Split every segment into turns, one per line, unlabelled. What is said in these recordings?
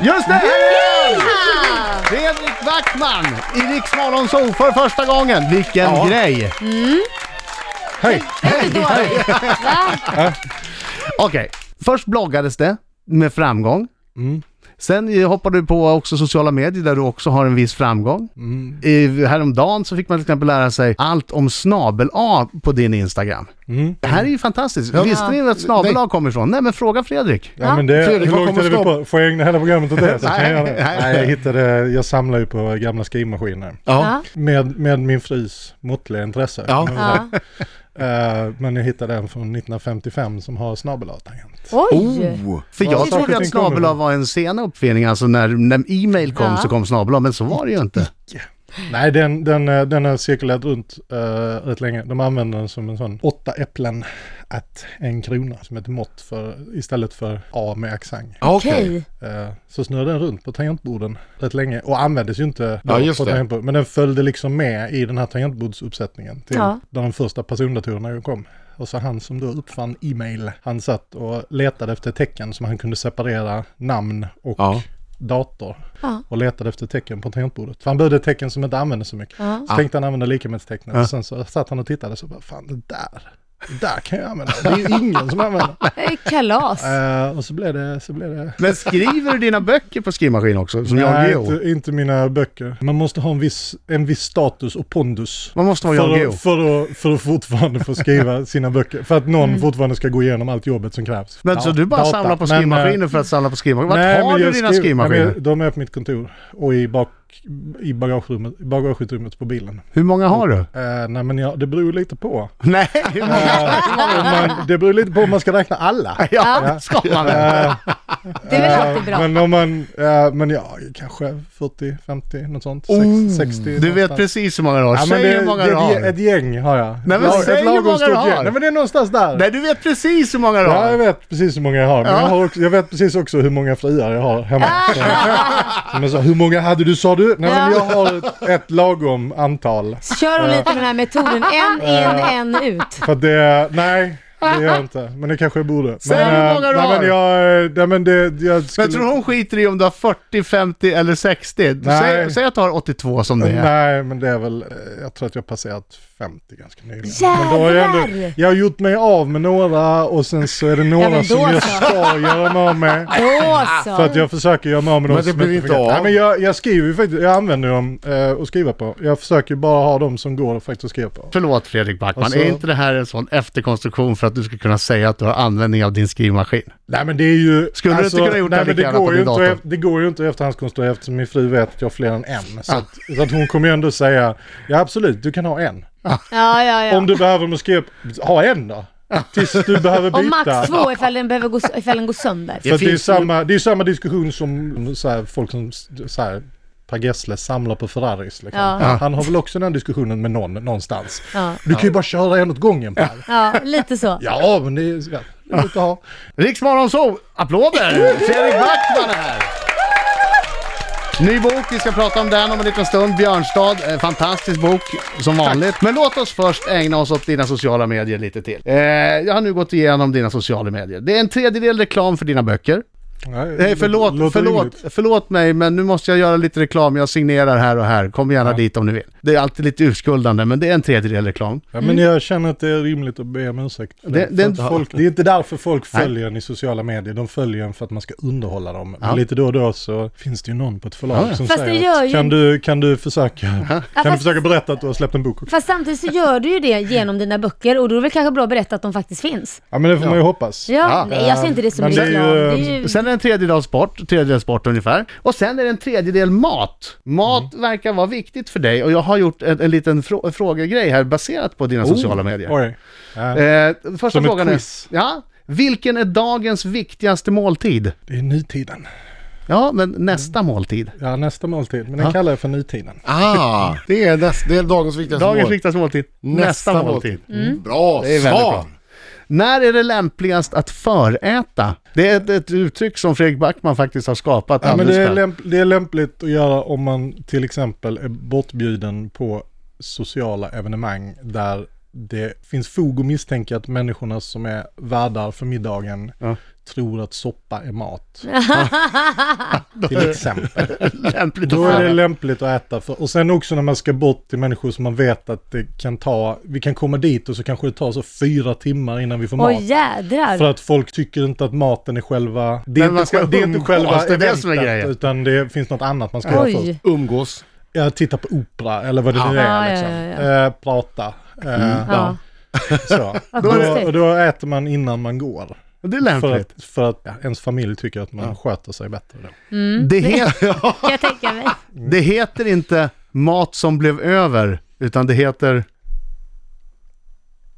Just det! här är han! Fredrik Backman i Rix Morgon Zoo för första gången. Vilken
Ja.
grej!
Hej!
Mm. Inte dåligt. Va?
Okej, först bloggades det med framgång.
Mm.
Sen eh, hoppade du på också sociala medier där du också har en viss framgång.
Mm.
I, häromdagen så fick man till exempel lära sig allt om snabel-A på din Instagram.
Mm.
Det här är ju fantastiskt. Visste ni att snabel-A kommer ifrån? Nej men fråga Fredrik.
Ja, men det,
Fredrik,
hur
vad
långt
kommer
är det vi
stopp?
på? Får jag ägna hela programmet åt det? Så kan jag, göra det.
Nej, nej.
Nej, jag, hittade, jag samlar ju på gamla skrivmaskiner.
Ja.
Ja.
Med, med min frus måttliga intresse.
Ja.
Ja.
Eh, men jag hittade en från 1955 som har snabel-A-tangent.
Oj!
Oh.
För
Ja,
jag
saker
trodde
och
att
ting kommer
snabel-A
från.
var en sen uppfinning, alltså när, när e-mail kom
Ja.
så kom snabel-A, men så var det ju inte.
Nej, den, den, eh, den har cirkulerat runt eh, rätt länge. De använder den som en sån åtta äpplen att en krona som ett mått för, istället för A med accent.
Okej.
Okej.
Eh, Så snurrade den runt på tangentborden rätt länge och användes ju inte då
Ja, just
på
det.
tangentbord. Men den följde liksom med i den här tangentbordsuppsättningen till
Ja.
de första persondatorerna kom. Och så han som då uppfann e-mail, han satt och letade efter tecken som han kunde separera namn och
Ja.
dator.
Ja.
Och letade efter tecken på tangentbordet. För han behövde tecken som inte användes så mycket.
Ja.
Så tänkte han använda likametstecknet.
Ja.
Och sen så satt han och tittade så bara, fan det där, det där kan jag använda. Det är ju ingen som använder.
Det är Kalas.
Eh, och så blev det, så blev det
Men skriver du dina böcker på skrivmaskin också, som
Nej,
jag
inte, inte mina böcker. Man måste ha en viss, en viss status och pondus.
Man måste vara Jan
För
Guillou.
att, för, att, för att fortfarande få skriva sina böcker. För att någon fortfarande ska gå igenom allt jobbet som krävs.
Men
Ja,
så du bara
data.
samlar på
Men, eh,
skrivmaskiner för att samla på skrivmaskiner? Vart
nej,
har
men
du
jag
dina
skriver-
skrivmaskiner?
nej, men De är på mitt kontor och i, bak, i bagagerummet, bagagerummet på bilen.
Hur många har du?
Eh, nej men jag, det beror lite på.
Nej, hur många
Eh, man, det beror lite på om man ska räkna alla.
ja, ska man väl?
Eh,
Det är väl alltid bra.
Men om man, eh, men ja, kanske 40, 50, något sånt. Sex- 60
Oh, Du vet
någonstans.
precis hur många du har.
Ja, men
Säg
det,
hur många
det,
du har.
Ett gäng har jag.
men
Ett lag-
säg
ett
hur
lagom
många
stort
du har.
gäng. Nej men det är någonstans där.
Nej, du vet precis hur många du
Ja, jag
har.
vet precis hur många jag har. Men
Ja.
jag, har också, jag vet precis också hur många friar jag har hemma. Så, men så, hur många hade du sa du? Nej men jag
Ja.
har ett, ett lagom antal.
Kör hon lite med den här metoden. En
Eh.
in, en ut.
För att det, nej. Det gör jag inte, men det kanske jag borde.
Säg
men,
hur
eh,
många du
nej,
har.
men jag, eh, nej men det, jag skulle...
Men tror hon skiter i om du har 40, 50 eller 60? Du
Nej.
säger, säg att du har 82 som det är.
Nej, men det är väl, eh, jag tror att jag passerat 50 ganska nyligen. Men
Jävlar!
då har jag, ändå, jag har gjort mig av med några och sen så är det några
Ja, men då
som jag
så.
ska göra mig av med.
Då
För att
så.
jag försöker göra mig av med dem
Men det
som
blir inte
fungerar.
av.
Nej, men jag, jag skriver ju faktiskt, jag använder ju dem eh, att skriva på. Jag försöker bara ha dem som går faktiskt att skriva på.
Förlåt Fredrik Backman,
Alltså-
är inte det här en sån efterkonstruktion för att du ska kunna säga att du har användning av din skrivmaskin?
Nej men det är ju... alltså,
Skulle du inte kunna gjort
nej,
det lika
men det
gärna på
går ju
din
inte
dator?
att- Det går ju inte att efterhandskonstruera eftersom min fru vet att jag har fler än en. Så, att, så att hon kommer ju ändå säga, ja absolut, du kan ha en.
Ja, ja,
Om
ja.
du behöver moskera, ha en då. Tills du behöver byta.
Och max två ifall den, behöver gå, ifall den går sönder.
För att det, är ju
finns-
samma, det är ju samma diskussion som så här, folk som så här, Per Gessle samlar på Ferraris. Liksom.
Ja.
Han har väl också den diskussionen med någon någonstans.
Ja.
Du kan ju bara köra en åt gången Per.
Ja, lite så.
Ja, men det är... Ja. det är lite att ha.
Riksmorgonzoo! Applåder! Fredrik Backman är här! Ny bok, vi ska prata om den om en liten stund. Björnstad, eh, fantastisk bok som vanligt. Men låt oss först ägna oss åt dina sociala medier lite till. Eh, jag har nu gått igenom dina sociala medier. Det är en tredjedel reklam för dina böcker.
Nej,
Eh, förlåt,
låter
förlåt,
rimligt.
förlåt mig men nu måste jag göra lite reklam. Jag signerar här och här. Kom gärna dit om ni vill. Det är alltid lite urskuldande men det är en tredjedel reklam.
Ja, men jag känner att det är rimligt att be om ursäkt. för
Det-
Mm. Det, för
det-
att folk, det är inte därför folk följer en i sociala medier. De följer en för att man ska underhålla dem. Men
Ja.
lite då och då så finns det ju någon på ett förlag som
Fast det
säger
gör
att,
ju-
kan, du, kan du försöka, kan du
fast-
försöka berätta att du har släppt en bok också?
Fast samtidigt så gör du ju det genom dina böcker och då är det väl kanske bra att berätta att de faktiskt finns.
Ja men det får man ju hoppas.
Ja,
Ja.
nej jag ser inte det som
Men det är
reklam.
ju-
Det är
Mm.
ju...
Sen är det en tredjedel sport, tredjedel sport ungefär. Och sen är det en tredjedel mat. Mat
Mm.
verkar vara viktigt för dig och jag har gjort en, en liten frå- frågegrej här baserat på dina sociala medier.
Oh. Oj. Ja.
Eh, första
Som ett
frågan är,
quiz.
ja, vilken är dagens viktigaste måltid?
Det är nutiden.
Ja, men nästa
Mm.
måltid.
Ja, nästa måltid. Men den kallar jag för nutiden.
Ah, det är, näst, det är dagens viktigaste
Dagens
mål.
viktigaste måltid, nästa, måltid.
Mm. Bra
Det är väldigt
svar!
När är det lämpligast att föräta? Det är ett, ett uttryck som Fredrik Backman faktiskt har skapat
Ja, men
alldeles
det, är
själv.
lämp- det är lämpligt att göra om man till exempel är bortbjuden på sociala evenemang där det finns fog att misstänka att människorna som är värdar för middagen
Ja.
tror att soppa är mat. till exempel.
Lämpligt
Då
att
är det
föra.
lämpligt att äta för. Och sen också när man ska bort till människor som man vet att det kan ta, vi kan komma dit och så kanske det tar så fyra timmar innan vi får mat.
Oj jädrar.
För att folk tycker inte att maten är själva... Det är,
Men
inte,
man ska
själ- det är inte
umgås,
själva
det är det som är
eventet,
grejen.
utan det finns något annat man ska göra först.
Oj.
Umgås.
Ja, titta på opera eller vad det nu
Ja, Ah,
är.
ja,
Liksom.
ja,
Eh, prata.
Mm,
Eh,
Ja.
så.
Vad
då,
konstigt.
och då äter man innan man går.
Det är
För
lämpligt.
att, för att ja, ens familj tycker att man sköter sig bättre då.
Det, he- ja,
Kan jag tänka mig.
det heter inte mat som blev över, utan det heter...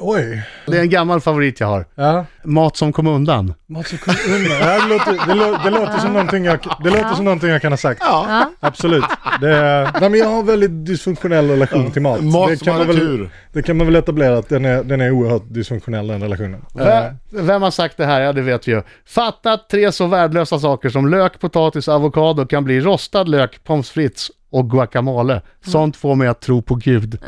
Oj!
Det är en gammal favorit jag har.
Ja.
Mat som kom undan.
Man så kom undan. Ja, Det låter, det, lå, det låter, som, någonting jag, det låter som någonting jag kan ha sagt.
Ja.
Absolut. Det, nej, men jag har en väldigt dysfunktionell relation till mat.
Mat
det,
som
kan
hade
man väl,
tur.
det kan man väl etablera att den är, den är oerhört dysfunktionell den relationen. Eh,
Vä- Vem har sagt det här? Ja, det vet vi ju. Fatta att tre så värdelösa saker som lök, potatis och avokado kan bli rostad lök, pommes frites och guacamole. Sånt får mig att tro på
Eh.
Gud.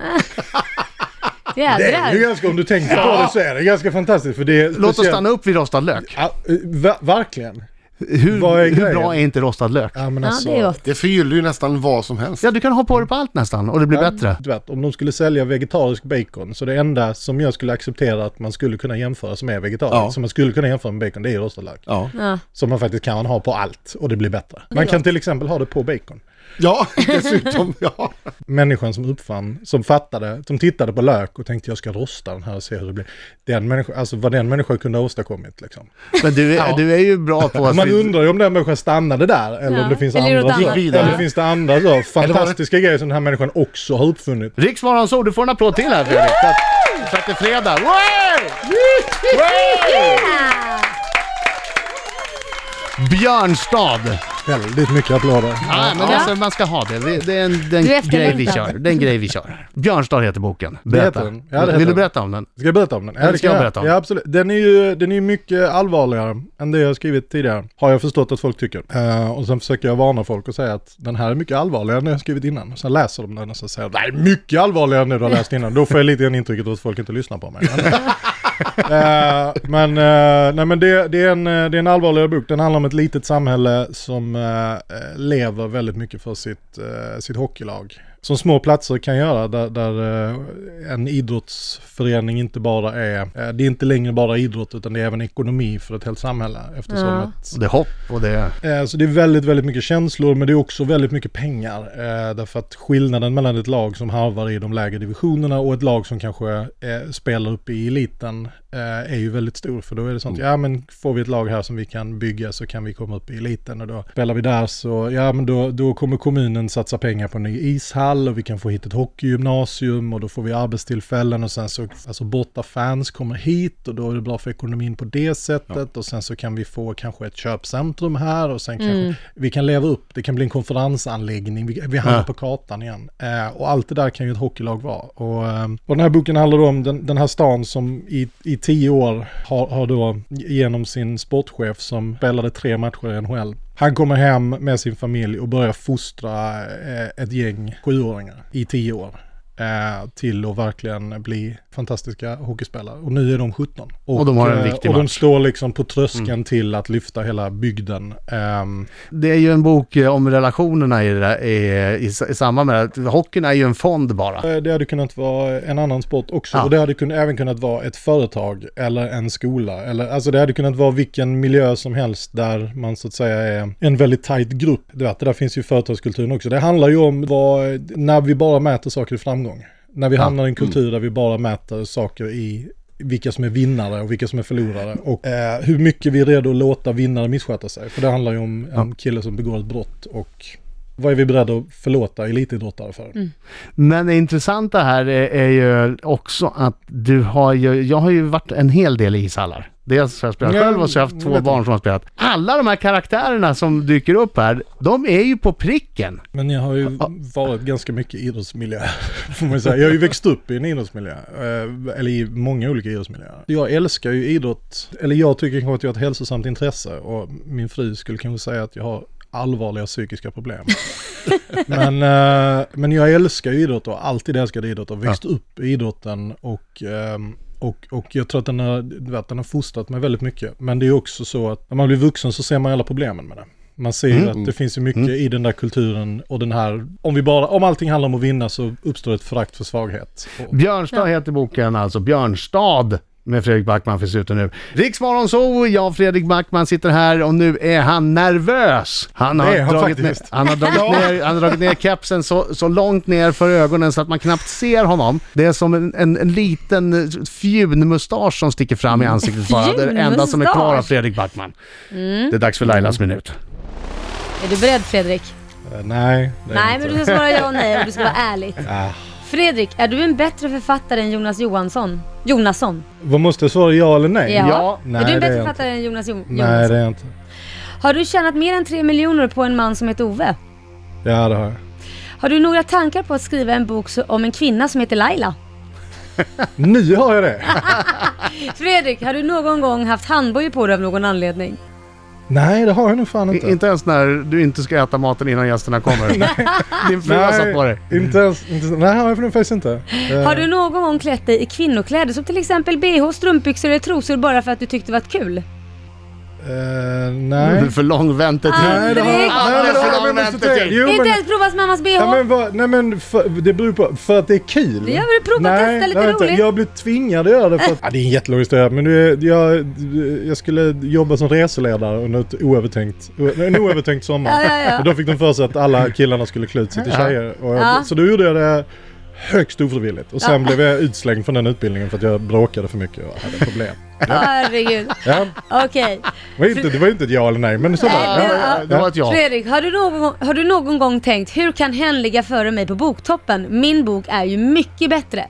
det är ju
Jädrar.
ganska, om du tänker på det så är det ganska fantastiskt. För det är
Låt oss
speciellt-
stanna upp vid rostad lök.
Ja, eh, ver- verkligen.
Hur,
Vad är
hur
grejen?
bra är inte rostad lök?
Ja, men
Ja,
alltså,
det är gott.
Det förgyller ju nästan vad som helst.
Ja, du kan ha på det på allt nästan och det blir bättre.
Du vet, om de skulle sälja vegetarisk bacon så det enda som jag skulle acceptera att man skulle kunna jämföra som är vegetariskt,
Ja.
som man skulle kunna jämföra med bacon, det är ju rostad lök.
Ja.
Ja.
Som man faktiskt kan ha på allt och det blir bättre. Man kan till exempel ha det på bacon.
Ja, dessutom. Ja.
Människan som uppfann, som fattade, som tittade på lök och tänkte jag ska rosta den här och se hur det blir. Den människa, alltså vad den människan kunde ha åstadkommit liksom.
Men du, är- du är ju bra på att...
Man undrar ju om den människan stannade där eller
Ja.
om det finns
Eller gjorde
andra
något
så,
annat.
eller finns det andra så fantastiska grejer som den här människan också har uppfunnit.
Riks morgonsol, du får en applåd till här Fredrik. För att, för att det är fredag. Way! Way! Björnstad.
Väldigt mycket applåder.
Nej, men alltså, man ska ha det. Vi- Det är en, det är
Du
en
efterlängtar.
grej vi kör. Det är en grej vi kör. Björnstad heter boken. Berätta.
heter den. Ja, det heter
Vill du
den.
berätta om den?
Ska jag berätta om den? Ja,
Den
det
ska
kan
jag berätta om.
Ja, absolut. Den är ju den är ju mycket allvarligare än det jag har skrivit tidigare. Har jag förstått att folk tycker. Eh, och sen försöker jag varna folk och säga att den här är mycket allvarligare än jag har skrivit innan. Sen läser de den och så säger de, nej, mycket allvarligare än det du har läst innan. Då får jag lite grann intrycket att folk inte lyssnar på mig. Men, eh, men, eh, nej, men det, det, är en, eh, det är en allvarligare bok. Den handlar om ett litet samhälle som eh, eh, lever väldigt mycket för sitt, eh, sitt hockeylag. Som små platser kan göra där, där eh, en idrottsförening inte bara är, eh, det är inte längre bara idrott utan det är även ekonomi för ett helt samhälle. Eftersom
Ja.
ett,
Och det är hopp och det är...
Eh, Så det är väldigt, väldigt mycket känslor, men det är också väldigt mycket pengar. Eh, Därför att skillnaden mellan ett lag som harvar i de lägre divisionerna och ett lag som kanske eh, spelar upp i eliten eh, är ju väldigt stor. För då är det sånt, ja men får vi ett lag här som vi kan bygga så kan vi komma upp i eliten. Och då spelar vi där så, ja men då, då kommer kommunen satsa pengar på en ny ishall och vi kan få hit ett hockeygymnasium och då får vi arbetstillfällen och sen så, alltså borta fans kommer hit och då är det bra för ekonomin på det sättet och sen så kan vi få kanske ett köpcentrum här och sen kanske vi kan leva upp, det kan bli en konferensanläggning, vi, vi hamnar
Ja.
på kartan igen. Eh, och allt det där kan ju ett hockeylag vara. Och, eh, och den här boken handlar då om den, den här stan som i, i tio år har, har då genom sin sportchef som spelade tre matcher i NHL han kommer hem med sin familj och börjar fostra eh, ett gäng sjuåringar i tio år eh, till att verkligen bli fantastiska hockeyspelare. Och nu är de 17.
Och de har en
eh,
viktig
Och de
match.
står liksom på tröskeln till att lyfta hela bygden. Ehm,
Det är ju en bok eh, om relationerna i, det där, i, i, i samband med det här. Hockeyn är ju en fond bara.
Eh, Det hade kunnat vara en annan sport också.
Ja.
Och det hade kun, även kunnat vara ett företag eller en skola. Eller, alltså det hade kunnat vara vilken miljö som helst där man så att säga är en väldigt tajt grupp. Du vet, det där finns ju företagskulturen också. Det handlar ju om vad, när vi bara mäter saker i framgång. När vi hamnar i en kultur där vi bara mäter saker i vilka som är vinnare och vilka som är förlorare. Och eh, hur mycket vi är redo att låta vinnare missköta sig. För det handlar ju om en kille som begår ett brott och vad är vi beredda att förlåta elitidrottare för?
Men det intressanta här är, är ju också att du har ju, jag har ju varit en hel del i ishallar. Dels har jag spelat
Ja,
själv och så har jag haft
jag
två
vet
barn som har spelat. Alla de här karaktärerna som dyker upp här, de är ju på pricken.
Men jag har ju varit ganska mycket i idrottsmiljö, får man säga. Jag har ju växt upp i en idrottsmiljö, eh, eller i många olika idrottsmiljöer. Jag älskar ju idrott, eller jag tycker kanske att jag har ett hälsosamt intresse och min fru skulle kanske säga att jag har allvarliga psykiska problem. men, eh, men jag älskar ju idrott och har alltid älskat idrott och växt upp i idrotten och ehm, och, och jag tror att den har, du vet, den har fostrat mig väldigt mycket. Men det är också så att när man blir vuxen så ser man alla problemen med det. Man ser ju
Mm.
att det finns ju mycket i den där kulturen och den här, om, vi bara, om allting handlar om att vinna så uppstår ett förakt för svaghet. Och,
Björnstad heter boken alltså, Björnstad med Fredrik Backman finns ute nu. Riksmorgon så, jag Fredrik Backman sitter här och nu är han nervös. Han har,
Det är han
dragit, ner,
faktiskt.
han har, dragit, ner, han har dragit ner kepsen så, så långt ner för ögonen så att man knappt ser honom. Det är som en, en, en liten fjunmustasch som sticker fram i ansiktet bara. Det är det enda som är kvar av
Fjunmustasch?
Fredrik Backman. Det är dags för Lailas
Mm.
minut.
Är du beredd Fredrik?
eh, nej, det är
Nej,
inte.
men du ska svara ja och nej och du ska vara ärlig.
Ah.
Fredrik, är du en bättre författare än Jonas Johansson? Jonasson?
Vad måste jag svara, Eh, ja eller nej?
Ja.
Nej,
är du en
det är
bättre
jag inte.
författare än Jonas jo- Jonasson?
Nej, det är jag inte.
Har du tjänat mer än 3 miljoner på en man som heter Ove?
Ja, det har jag.
Har du några tankar på att skriva en bok så- om en kvinna som heter Laila?
Nu har jag det!
Fredrik, har du någon gång haft handbojor på dig av någon anledning?
nej, det har jag nog fan inte.
I- Inte ens när du inte ska äta maten innan gästerna kommer. Din fru har satt på dig.
inte ens, inte, nej, har jag nog faktiskt inte. Eh,
Har du någon gång klätt dig i kvinnokläder som till exempel bh, strumpbyxor eller trosor bara för att du tyckte det var kul?
eh, nej.
För lång väntetid.
Nej, det har jag nej,
Aldrig.
men det har
Aldrig
jag nog
för lång
inte.
väntetid.
Jo,
inte
men,
ens provat mammas bh?
nej, men, vad- nej, men för, det beror på, för att det är kul.
Ja, men prova att testa lite
det har jag inte.
roligt.
Jag blev tvingad att göra det för att, ja, det är en jättelång historia, men du, är- jag, jag skulle jobba som reseledare under ett oövertänkt, en oövertänkt sommar.
Ja, ja, ja.
Och då fick de för sig att alla killarna skulle klä ut sig till tjejer. Och jag,
Ja.
Så då gjorde jag det högst ofrivilligt. Och sen blev jag utslängd från den utbildningen för att jag bråkade för mycket och hade problem.
Herregud.
Ja,
Okej.
det var inte, det var inte ett ja eller nej, men så var
Nej, det var-
det.
Det var ett ja.
Fredrik, har du, någon, har du någon gång tänkt hur kan hen ligga före mig på boktoppen? Min bok är ju mycket bättre.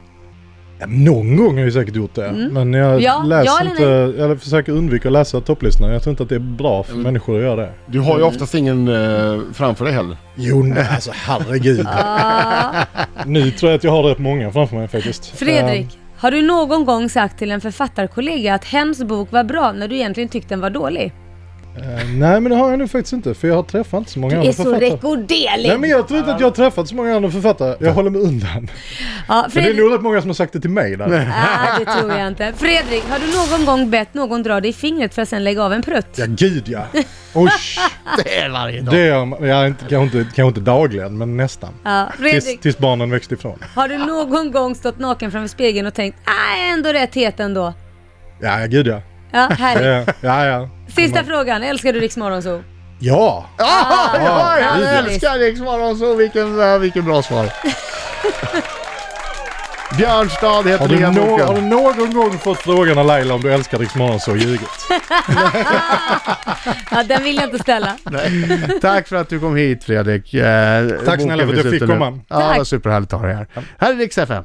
Ja, Någon gång har jag säkert gjort det. Men jag
Mm. Ja,
läser
ja eller
inte, eller försöker undvika att läsa topplistorna. Jag tror inte att det är bra för människor att göra det.
Du har ju oftast ingen eh, framför dig heller.
Jo, nej, alltså herregud.
Ah.
nu tror jag att jag har rätt många framför mig faktiskt.
Fredrik, har du någon gång sagt till en författarkollega att hens bok var bra när du egentligen tyckte den var dålig?
Eh, eh, nej, men det har jag nog faktiskt inte. För jag har träffat inte så många
Du
andra
är så
författare.
rekorderlig!
Nej, men jag tror inte att jag har träffat så många andra författare. Jag håller mig undan.
Ja,
Men det är
Fredrik,
nog rätt många som har sagt det till mig där.
ah, det tror jag inte. Fredrik, har du någon gång bett någon dra dig i fingret för att sen lägga av en prutt?
Ja, gud ja. Usch.
Det är varje dag.
Det gör man. Ja, inte, kanske, inte, kanske inte dagligen, men nästan.
Ja,
Tills,
Fredrik,
tills barnen växte ifrån.
har du någon gång stått naken framför spegeln och tänkt ah, jag är ändå rätt het ändå?
Ja, ja, gud ja.
Ja, härligt.
Ja, ja. ja.
Sista frågan, älskar du Rix Morgonzoo?
Ja!
Ah, ja, jag
ja,
älskar Rix så vilken, eh, vilken bra svar. Björnstad heter
Har du,
nya
nå- har du
boken.
någon gång fått frågan av Laila om du älskar Rix så ljugit?
Ja, den vill jag inte ställa.
Tack för att du kom hit Fredrik. Eh, boken
snälla för att
finns
jag fick
ute nu.
komma.
Ja, det var
Tack.
superhärligt att ha dig här. Här är Rix FM.